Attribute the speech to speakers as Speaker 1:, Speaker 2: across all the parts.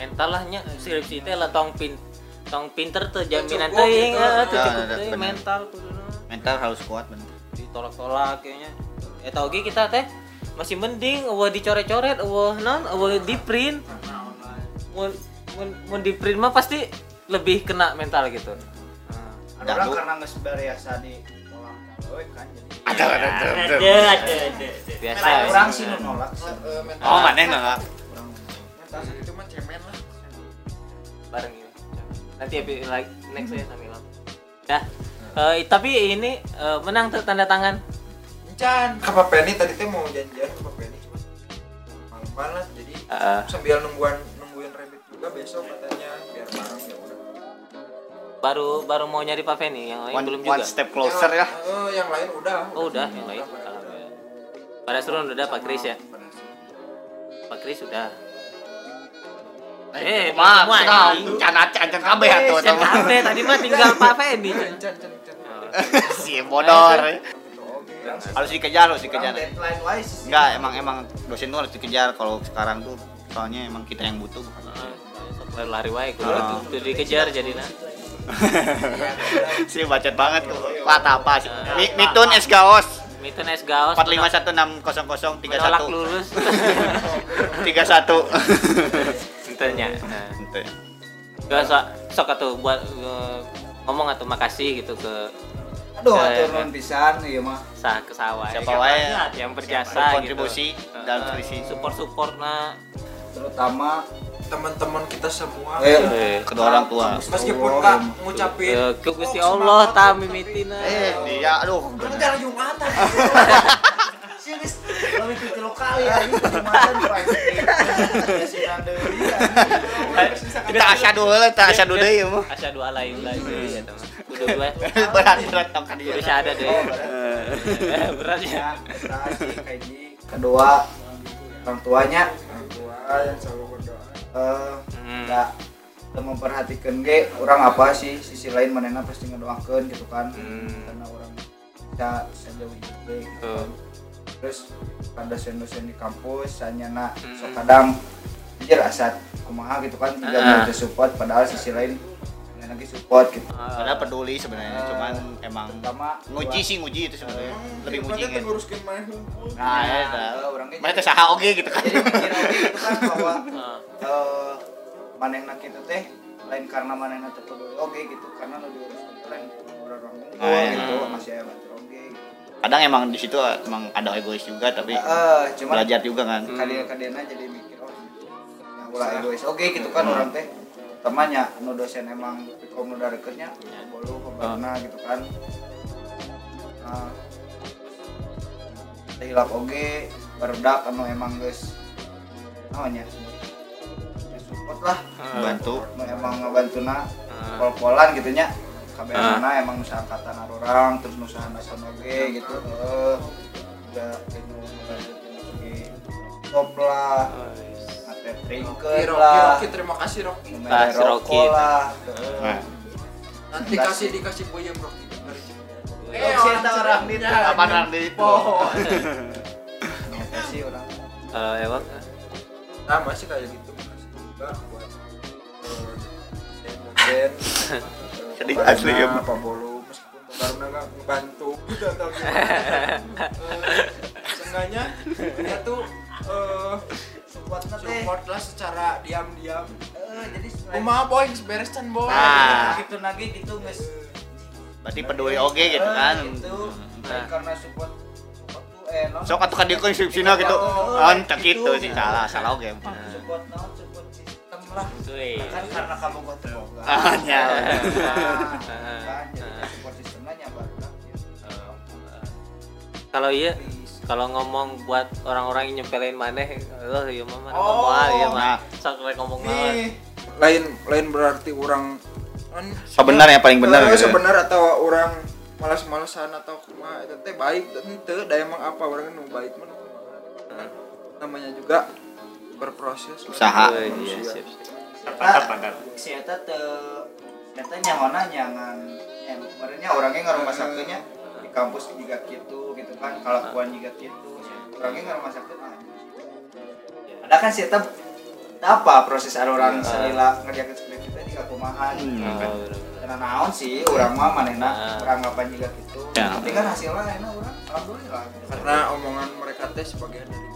Speaker 1: mentalahnya
Speaker 2: Iya.
Speaker 1: skripsi teh lah tong pin tong pinter teh iya, jaminan
Speaker 3: Cukup
Speaker 1: teuing
Speaker 3: gitu.
Speaker 1: heeh teu
Speaker 2: Ya,
Speaker 1: cukup
Speaker 2: ya,
Speaker 1: teuing
Speaker 2: bener.
Speaker 1: mental kuduna
Speaker 2: mental harus kuat bener
Speaker 1: ditolak-tolak kayaknya eta oge kita teh masih mending eueuh dicoret-coret eueuh non
Speaker 2: Iya.
Speaker 1: eueuh di
Speaker 2: Nah,
Speaker 1: print mun mun mun di print mah pasti lebih kena mental gitu
Speaker 4: Ada orang
Speaker 2: Dadu.
Speaker 4: karena nggak sebariasa di orang we kan jadi.
Speaker 2: ada ada ada
Speaker 1: ada ada ada
Speaker 2: Iya, biasa
Speaker 4: Nah,
Speaker 2: ya.
Speaker 4: orang
Speaker 3: iya.
Speaker 4: sih nu nolak sih.
Speaker 2: oh mana nolak
Speaker 3: mental sakit Eh, itu mah cemen lah
Speaker 1: bareng ini nanti epi- like next ya sambil ya Eh, tapi ini eh, menang tuh tanda tangan
Speaker 3: encan kapa Kan Penny tadi teh mau janjian kapa Penny cuma malam banget jadi
Speaker 1: Heeh.
Speaker 3: sambil nungguan nungguin rabbit juga besok katanya biar bareng ya udah
Speaker 1: baru baru mau nyari Pak Feni yang lain
Speaker 2: one,
Speaker 1: belum
Speaker 2: one
Speaker 1: juga
Speaker 2: step closer ya
Speaker 3: Yang- eh, yang lain udah
Speaker 1: oh udah yang lain
Speaker 3: Udah,
Speaker 1: alhamdulillah. pada suruh udah Pak Kris ya
Speaker 3: Pada suruh.
Speaker 1: Pak Kris udah
Speaker 2: eh
Speaker 1: Eh,
Speaker 2: mah
Speaker 1: semua
Speaker 2: nah
Speaker 1: ini.
Speaker 2: cana cancan kabeh atuh
Speaker 1: Sen
Speaker 2: tama.
Speaker 1: kafe tadi mah tinggal Pak Feni
Speaker 3: Encan, encan, encan.
Speaker 2: si bodor
Speaker 3: Gitu, oke.
Speaker 2: harus dikejar harus
Speaker 3: Kurang
Speaker 2: dikejar
Speaker 3: deadline wise sih.
Speaker 2: enggak emang emang dosen tuh harus dikejar kalau sekarang tuh soalnya emang kita yang butuh
Speaker 1: Ah, lari wae kudu
Speaker 2: Ah.
Speaker 1: Kudu dikejar jadi nah
Speaker 2: si bacot banget patah apa sih Mi- mitun es gaos
Speaker 1: itu nes gaos
Speaker 2: empat lima
Speaker 1: menolak-
Speaker 2: satu enam kosong kosong tiga
Speaker 1: menolak
Speaker 2: satu
Speaker 1: lulus
Speaker 2: tiga satu
Speaker 1: Entahnya. Nah. Gak sok sok atuh buat eh, ngomong atau makasih gitu ke
Speaker 4: Aduh,
Speaker 1: Saya-
Speaker 4: atur nun pisan ieu mah.
Speaker 1: sah ke sawah.
Speaker 2: Siapa wae.
Speaker 1: yang berjasa
Speaker 2: kontribusi
Speaker 1: gitu. Eh,
Speaker 2: dalam krisis
Speaker 1: support support nah
Speaker 4: Terutama
Speaker 3: teman-teman
Speaker 1: Ah,
Speaker 3: kita semua
Speaker 1: iya.
Speaker 4: eh
Speaker 2: kedua orang tua
Speaker 3: meskipun
Speaker 4: Allah,
Speaker 3: nggak
Speaker 4: ya.
Speaker 3: ngucapin
Speaker 1: Eh, ke Gusti
Speaker 3: "Oh,
Speaker 1: Allah
Speaker 3: semangat,"
Speaker 1: ta
Speaker 3: tapi-
Speaker 1: mimitina.
Speaker 2: eh dia aduh
Speaker 4: Kan udah Jumatan. Serius, lebih tiga
Speaker 1: Ah,
Speaker 4: kali
Speaker 1: iya,
Speaker 4: ya ini Jumatan Pak. Ya, si Nando, iya.
Speaker 2: kita asya dulu lah tak asya dulu ya mah
Speaker 1: Asya dua lain lain ya teman. Kudu dua.
Speaker 2: berat berat tau kan
Speaker 1: Kudu
Speaker 2: dia
Speaker 1: syahada deh. Eh, Berat ya.
Speaker 4: Ya, kita si
Speaker 1: iya,
Speaker 4: Kaji. Kedua orang tuanya
Speaker 3: Orang tua yang selalu berdoa
Speaker 4: eh
Speaker 1: Hmm.
Speaker 4: nggak teu memperhatikan ge orang apa sih sisi lain manena pasti ngedoakeun gitu kan
Speaker 1: Hmm.
Speaker 4: karena orang bisa sejauh itu ge, gitu kan. terus pada dosen-dosen di kampus sanyana
Speaker 1: Hmm.
Speaker 4: sok kadang jujur asat kumaha gitu kan tidak
Speaker 1: Ah.
Speaker 4: mau support padahal sisi lain manena lagi support gitu
Speaker 2: padahal peduli sebenarnya
Speaker 4: Eh,
Speaker 2: cuman emang
Speaker 4: pertama
Speaker 2: nguji sih nguji itu sebenarnya
Speaker 3: Iya,
Speaker 2: lebih nguji kan
Speaker 3: nguruskan main hukum
Speaker 2: nah ya
Speaker 4: Eh, orang ge
Speaker 2: mana teh saha oge gitu kan
Speaker 4: jadi mikir oge gitu kan bahwa
Speaker 1: Eh,
Speaker 4: eh manehna kitu teh lain karena manehna teu peduli oge gitu karena nu diuruskeun teh lain orang unggul
Speaker 2: Ah, iya.
Speaker 4: gitu masih hebat oge gitu.
Speaker 2: kadang emang di situ emang ada egois juga
Speaker 4: Eh,
Speaker 2: tapi
Speaker 4: Heeh, cuman
Speaker 2: belajar juga kan
Speaker 4: kadena-kadena jadi mikir oh nah, ulah egois oke gitu kan orang teh temannya nu dosen emang piko nu dareketnya bolu kabarna gitu kan nah, teh hilap oge barudak anu emang geus namanya support lah
Speaker 2: bantu
Speaker 4: nu emang ngabantuna
Speaker 1: eh,
Speaker 4: pol-polan gitu nya kabeh
Speaker 1: Ah.
Speaker 4: mana emang nusa angkatan orang terus nusa nasan oge gitu heeh udah itu ngebantutin oge top lah ate trinket
Speaker 3: Rocky,
Speaker 4: lah
Speaker 3: Rocky, terima kasih Rocky
Speaker 2: Ah,
Speaker 1: Nah,
Speaker 4: lumayan
Speaker 1: si Rocky
Speaker 4: rokok
Speaker 1: itu.
Speaker 4: lah
Speaker 2: nah,
Speaker 3: nanti kasih dikasih boyem Rocky Beri. Iya,
Speaker 4: Eh, orang orang
Speaker 3: gitu.
Speaker 4: di
Speaker 2: apa orang di
Speaker 3: pohon
Speaker 4: Terima kasih orang
Speaker 1: eh, ewang, eh.
Speaker 3: nah masih kayak gitu makasih juga buat eh, dosen-dosen, eh,
Speaker 2: Sedih
Speaker 3: Pak
Speaker 2: asli,
Speaker 3: Barna,
Speaker 2: ya.
Speaker 3: Pak Bolo meskipun Pak Barna nggak ngebantu gitu atau gimana Eh, seenggaknya dia tuh eh,
Speaker 4: supportnya teh
Speaker 3: support lah secara diam-diam
Speaker 4: eh, jadi selain
Speaker 3: kumaha boy beresan boy
Speaker 2: Nah.
Speaker 4: gitu lagi gitu geus
Speaker 2: berarti peduli oge gitu kan Ah.
Speaker 4: Eh, gitu.
Speaker 1: Nah.
Speaker 4: karena support support tuh eh non
Speaker 2: sok atuh kan dieukeun sipsina gitu an tak gitu sih salah salah oge
Speaker 4: support non support sistem lah
Speaker 1: Wih.
Speaker 4: kan karena kamu gotobogan
Speaker 2: Ah, ya.
Speaker 4: kan jadi support sistemnya nyabar kan
Speaker 1: Eh, Kalau iya kalau ngomong buat orang-orang yang nyempelin maneh, loh iya mah mana
Speaker 3: Oh.
Speaker 1: ngomong aja, iya mah.
Speaker 2: Nah.
Speaker 1: Sok rek ngomong mah.
Speaker 3: nih lain lain berarti orang kan
Speaker 2: sebenarnya yang paling benar
Speaker 3: Eh,
Speaker 2: gitu
Speaker 3: sebenar atau orang malas-malasan atau kumaha itu teh baik dan teu da emang apa orang nu baik mah nu kumaha. Nah, namanya juga berproses lah.
Speaker 2: Usaha.
Speaker 1: Wih, Iya,
Speaker 3: Manusia.
Speaker 1: siap, siap.
Speaker 4: Eta si Eta te Eta nyahona nyangan eh, kemarinnya orangnya ngarumah sakitnya di kampus juga gitu gitu kan ah, gitu. kelakuan juga gitu orangnya ngarumah sakit ada kan si Eta apa proses ada orang
Speaker 1: Iya.
Speaker 4: salila ngerjakan skrip kita juga kumaha
Speaker 2: Hmm.
Speaker 4: karena gitu. naon sih orang mah manehna
Speaker 1: Ah.
Speaker 4: orang ngapain juga gitu
Speaker 2: Ya.
Speaker 4: tapi kan hasilnya enak orang alhamdulillah
Speaker 3: karena omongan mereka teh sebagian dari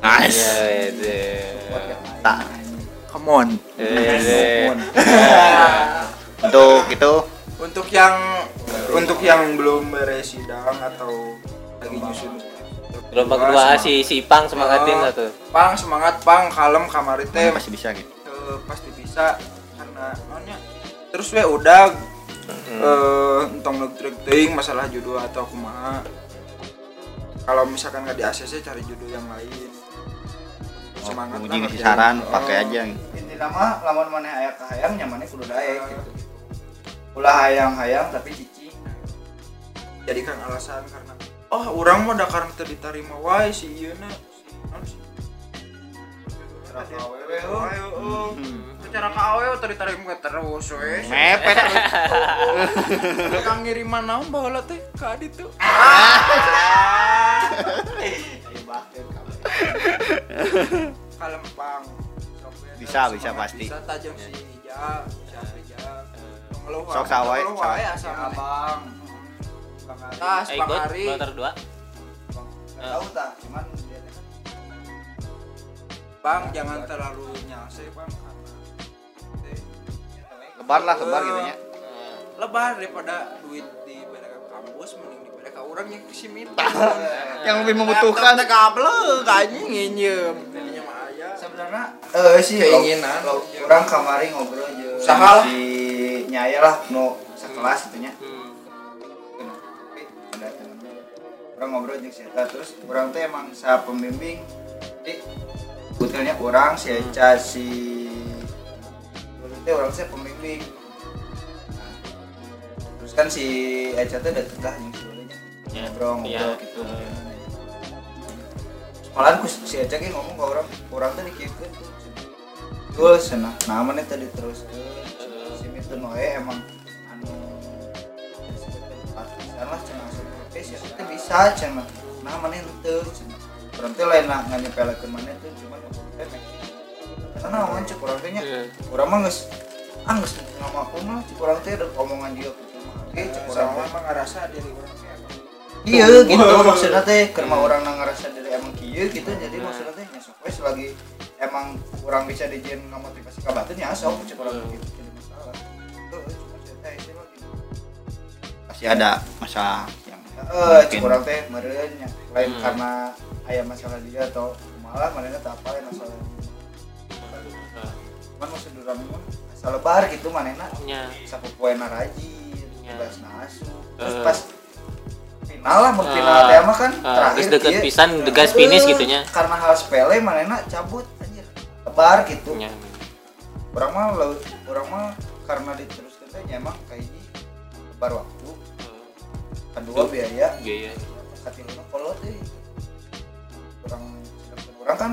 Speaker 1: Iya,
Speaker 2: Nice.
Speaker 1: itu.
Speaker 2: Tak.
Speaker 3: come on
Speaker 2: Eh, Untuk itu
Speaker 3: untuk yang untuk yang belum beres sidang atau lagi nyusun
Speaker 1: Gelombang kedua si si Ipang semangatin
Speaker 3: Eh,
Speaker 1: satu.
Speaker 3: pang semangat pang kalem kamari teh
Speaker 2: masih bisa gitu.
Speaker 3: eh, pasti bisa karena naonnya terus we udah eh entong ngegrek teuing masalah judul atau kumaha kalau misalkan nggak di ACC cari judul yang lain
Speaker 2: Oh,
Speaker 3: semangat
Speaker 2: Muji
Speaker 3: lah
Speaker 2: ngasih
Speaker 3: ngerjain.
Speaker 2: saran,
Speaker 3: Oh,
Speaker 2: pakai aja. gitu.
Speaker 4: inti nama lamun maneh hayang kahayang nyamannya kudu daek gitu ulah hayang-hayang tapi cici
Speaker 3: jadikan alasan karena oh orang mah udah karena teu ditarima wae si ieu na si naon si
Speaker 4: Cara ka awewe, heuh.
Speaker 3: ayo oh cara ka awewe teu ditarima terus we
Speaker 2: Mepet.
Speaker 3: kang ngiriman naon baheula teh ka adi tuh
Speaker 4: Ayo bakeun kabeh.
Speaker 3: kalempang
Speaker 2: Bisa, bisa, pasti.
Speaker 3: bisa tajam si hijau si hijau ngeluh
Speaker 2: Sok sawai,
Speaker 3: ngeluh
Speaker 2: sawai.
Speaker 3: wae asal abang
Speaker 4: Bang Ari.
Speaker 3: tas
Speaker 1: Eh,
Speaker 3: bang
Speaker 1: ikut
Speaker 3: Ari
Speaker 1: motor dua.
Speaker 4: Bang, nggak tahu tak cuman dia teh kan
Speaker 3: bang jangan terlalu nyase bang karena teh,
Speaker 2: Lebar lah, lebar gitu ya.
Speaker 3: lebar daripada duit di belakang kampus mending di belakang orang yang si minta
Speaker 2: Yang lebih membutuhkan.
Speaker 3: teh kable anjing nginjem Ininya mah aya
Speaker 4: sebenarnya eh sih
Speaker 3: Keinginan.
Speaker 4: lo- lo- orang kamari ngobrol aja
Speaker 3: Usaha lah.
Speaker 4: si nyaya lah nu sekelas itu nya Nah, tapi ada temennya. orang ngobrol jeung si Eta terus orang teh emang sa pembimbing jadi sebetulnya orang si Eca si Lulu teh orang saya pembimbing Nah, terus kan si Eca teh deket lah jeung si Lulu nya.
Speaker 1: Ya,
Speaker 4: ngobrol ngobrol
Speaker 1: iya.
Speaker 4: gitu malahan ku si Eca ge ngomong ke orang orang teh dikieukeun tuh. Gul senah namanya tadi terus eh, si Mitun Oe emang anu pisan lah cenah asup teh sih teh bisa cenah nah mana henteu cenah urang teh lain lah nganyepelekeun mana tuh cuman teh meh karena naon cek urang teh nya urang mah geus ah geus ngamakeun lah cek urang teh ada omongan dia ku cuma ge cek urang
Speaker 3: sama
Speaker 4: mah
Speaker 3: mah ngerasa diri orang kayak apa.
Speaker 4: iya gitu maksudnya teh kerma orang na ngerasa diri emang kieu gitu jadi maksudnya teh nya sok we selagi emang urang bisa dijieun ngamotivasi ka batin nya sok cek urang teh gitu jadi masalah Heuh, cuma saya teh saya eh, mah gitu.
Speaker 2: Pasti ada masalah yang
Speaker 4: Eh,
Speaker 2: Mungkin.
Speaker 4: kurang teh meureun nya. lain
Speaker 1: Hmm.
Speaker 4: karena aya masalah dia atau malah mana teh apa ya masalah. Cuman maksud urang mun asal lebar gitu manehna
Speaker 1: Nya.
Speaker 4: sakupoena rajin,
Speaker 1: Nya.
Speaker 4: tugas nasu. Terus
Speaker 1: Ya. Eh.
Speaker 4: pas final lah mun
Speaker 1: Eh,
Speaker 4: final teh mah kan
Speaker 1: eh,
Speaker 4: terakhir
Speaker 1: geus deket
Speaker 4: kieu.
Speaker 1: pisan, gegas finish
Speaker 4: Eh,
Speaker 1: gitu nya.
Speaker 4: Karena hal sepele manehna cabut anjir. Lebar gitu.
Speaker 1: Nya.
Speaker 4: Urang mah laut, urang mah karena diteruskeun teh nya emang ka hiji lebar waktu, kedua
Speaker 1: Duh.
Speaker 4: biaya,
Speaker 1: Gaya.
Speaker 4: katilna kolot euy. Urang sedangkan urang kan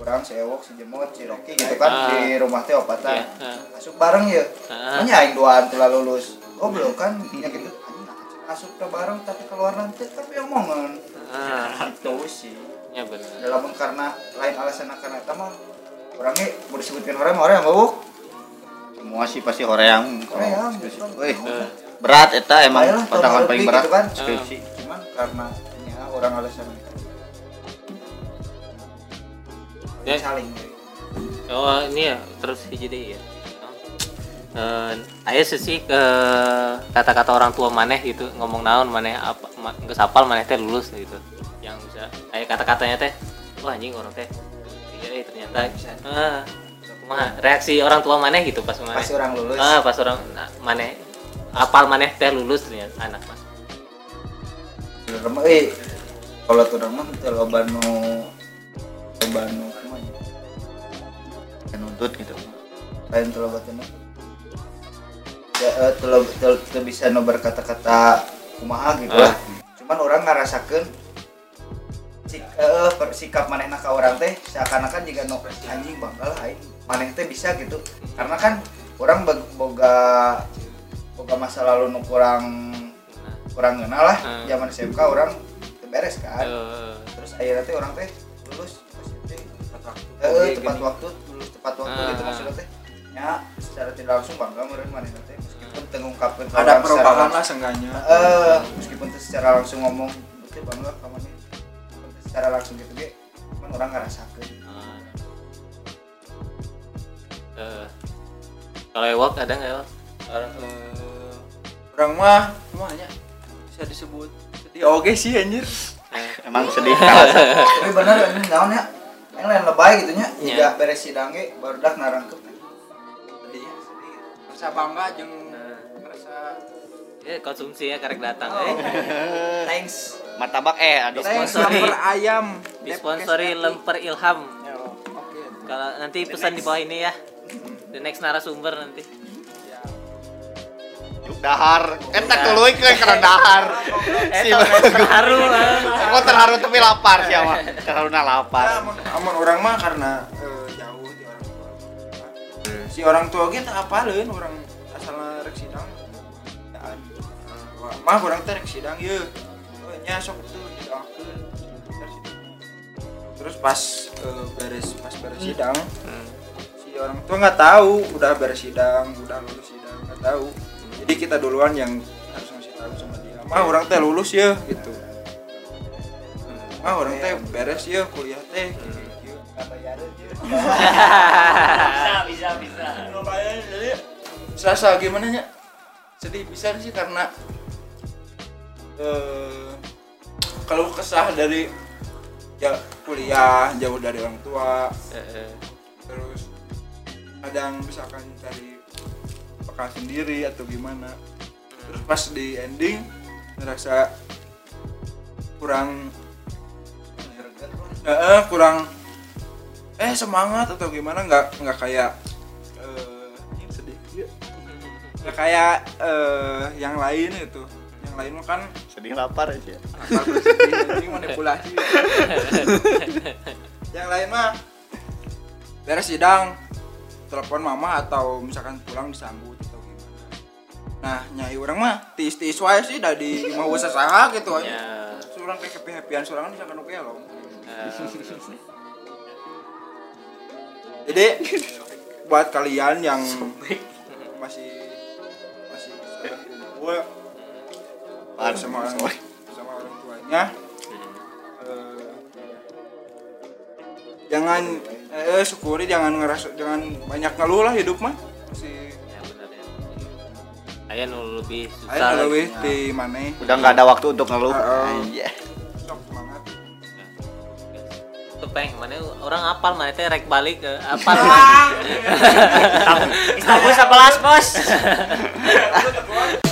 Speaker 4: urang sewok si jemot si Rocky gitu kan
Speaker 1: Ah.
Speaker 4: di rumah teh opatan.
Speaker 1: Iya, ah.
Speaker 4: Masuk bareng ya.
Speaker 1: Ah.
Speaker 4: Hanya aing duaan telah lulus. Goblok kan ya gitu. Anjing nah, cek masuk ke bareng tapi keluar nanti tapi omongan.
Speaker 1: Ah.
Speaker 4: Gitu sih.
Speaker 1: Nya bener.
Speaker 4: Dalam karena lain alasan karena eta mah orangnya mau disebutin orang orang yang mabuk.
Speaker 2: semua sih pasti hoream.
Speaker 4: Hoream, gitu.
Speaker 2: Skripsi.
Speaker 4: betul.
Speaker 2: Weh,
Speaker 1: Eh,
Speaker 2: berat eta
Speaker 4: Ayalah,
Speaker 2: emang
Speaker 4: tahun
Speaker 2: pertama paling
Speaker 4: lebih
Speaker 2: berat
Speaker 4: gitu kan.
Speaker 2: skripsi.
Speaker 4: Cuman karena ya orang alasan
Speaker 1: Ya.
Speaker 4: saling.
Speaker 1: Oh ini ya terus hiji deui ya. Eh, aya sih sih ke kata-kata orang tua maneh gitu ngomong naon maneh apa ma, geus hafal maneh teh lulus gitu. Yang bisa aya kata-katanya teh wah anjing orang teh iya eh, ternyata
Speaker 4: Bisa.
Speaker 1: ah, kumaha, reaksi orang tua maneh gitu pas maneh.
Speaker 4: Pasti orang lulus.
Speaker 1: Ah, pas orang nah, maneh apal maneh teh lulus ternyata anak mah.
Speaker 4: Remeh, eh kalau tuh orang mah teu loba nu loba nu kumaha nya?
Speaker 2: Menuntut gitu.
Speaker 4: lain teu loba teu nu- ya eh, teu loba- teu- teu bisa nu berkata-kata kumaha gitu lah. Cuman orang ngarasakeun sik eh, per- sikap manehna ka orang teh seakan-akan jika no anjing bangga lah aing maneh teh bisa gitu. Karena kan orang bag- boga boga masa lalu nu kurang kurang kenal lah
Speaker 1: Hmm.
Speaker 4: zaman SMK orang teu beres kan
Speaker 1: Eh,
Speaker 4: terus akhirnya teh orang teh lulus pas itu kata
Speaker 3: waktu
Speaker 1: Oke,
Speaker 4: eh, tepat
Speaker 1: Oh, iya, gini.
Speaker 4: waktu lulus tepat waktu
Speaker 1: Ah,
Speaker 4: gitu
Speaker 1: ah.
Speaker 4: maksudnya teh ya secara tidak langsung bangga meureun manehna teh meskipun teu ngungkapkeun ke
Speaker 3: ada
Speaker 4: orang secara
Speaker 3: perubahan lah
Speaker 4: langsung.
Speaker 3: seenggaknya
Speaker 4: eh meskipun teu secara langsung ngomong teh bangga ka maneh Meskipun teu secara langsung gitu ge cuman orang ngarasakeun
Speaker 1: Eh, kalau ewok ada nggak ewok orang
Speaker 3: Eh, orang mah semuanya bisa disebut sedih oke sih anjir
Speaker 2: Emang sedih kalah.
Speaker 4: tapi bener ini naon ya yang lain lebay gitu nya
Speaker 1: Iya.
Speaker 4: tidak beres sidang ge barudak narangkep
Speaker 3: sedihnya sedih merasa Iya, bangga jeung merasa
Speaker 1: ya konsumsinya karek datang eh.
Speaker 4: thanks
Speaker 2: Martabak eh aduh.
Speaker 3: thanks
Speaker 1: Disponsori.
Speaker 3: lapar ayam
Speaker 1: disponsori
Speaker 3: Depkes
Speaker 1: lemper ilham
Speaker 3: Eti. Yo, oke
Speaker 1: kalau nanti pesan di bawah ini ya the next narasumber nanti
Speaker 3: ya.
Speaker 2: Juk dahar. Eta tuluy ke karena dahar.
Speaker 1: eh tau nggak, terharu eh.
Speaker 2: Aku terharu tapi lapar sih ama. Terharu na lapar.
Speaker 3: Amun- amun orang mah karena eh, jauh di orang tua si orang tua kita apalin orang asal rek sidang daan. Wah, mah orang teh rek sidang ye nya sok tuh didoakeun. Ntar sidang. terus pas eh, beres pas beres sidang si orang tua nggak tahu udah beres sidang udah lulus sidang nggak tahu jadi kita duluan yang harus ngasih tahu sama dia mah orang teh lulus ya gitu mah orang teh beres ya kuliah teh gitu. lumayan jadi serasa gimana ya sedih bisa sih karena eh kalau kesah dari ya kuliah jauh dari orang tua
Speaker 1: Eh,
Speaker 3: terus kadang misalkan cari bekal sendiri atau gimana terus pas di ending ngerasa kurang Eh, eh, kurang eh semangat atau gimana nggak nggak kayak eh, sedih yuk. nggak kayak eh, yang lain itu yang lain mah kan
Speaker 2: Sedih lapar aja.
Speaker 3: apa bersedih, anjing manipulasi yang lain mah beres sidang telepon mama atau misalkan pulang disambut atau gimana nah nyai orang mah tiis tiis wae sih dari mau usaha gitu
Speaker 1: ya
Speaker 3: aja surang kayak happy happyan surang misalkan oke loh
Speaker 1: eh,
Speaker 3: jadi buat kalian yang masih masih saran gue
Speaker 2: Apaan?
Speaker 3: sama orang
Speaker 2: Sorry.
Speaker 3: sama orang tuanya eh, jangan eh, syukuri jangan ngerasa jangan banyak ngeluh lah hidup mah si
Speaker 1: ya benar ya Aya nu lebih
Speaker 3: ayo
Speaker 1: susah
Speaker 3: ngeluh
Speaker 1: lagi.
Speaker 3: di mana
Speaker 2: Udah nggak ada waktu untuk ngeluh.
Speaker 3: Heeh.
Speaker 2: Iya.
Speaker 3: sok semangat
Speaker 1: Tepeng, mana orang apal mana teh rek balik ke apal.
Speaker 3: Ah,
Speaker 1: Istanbul 11 bos.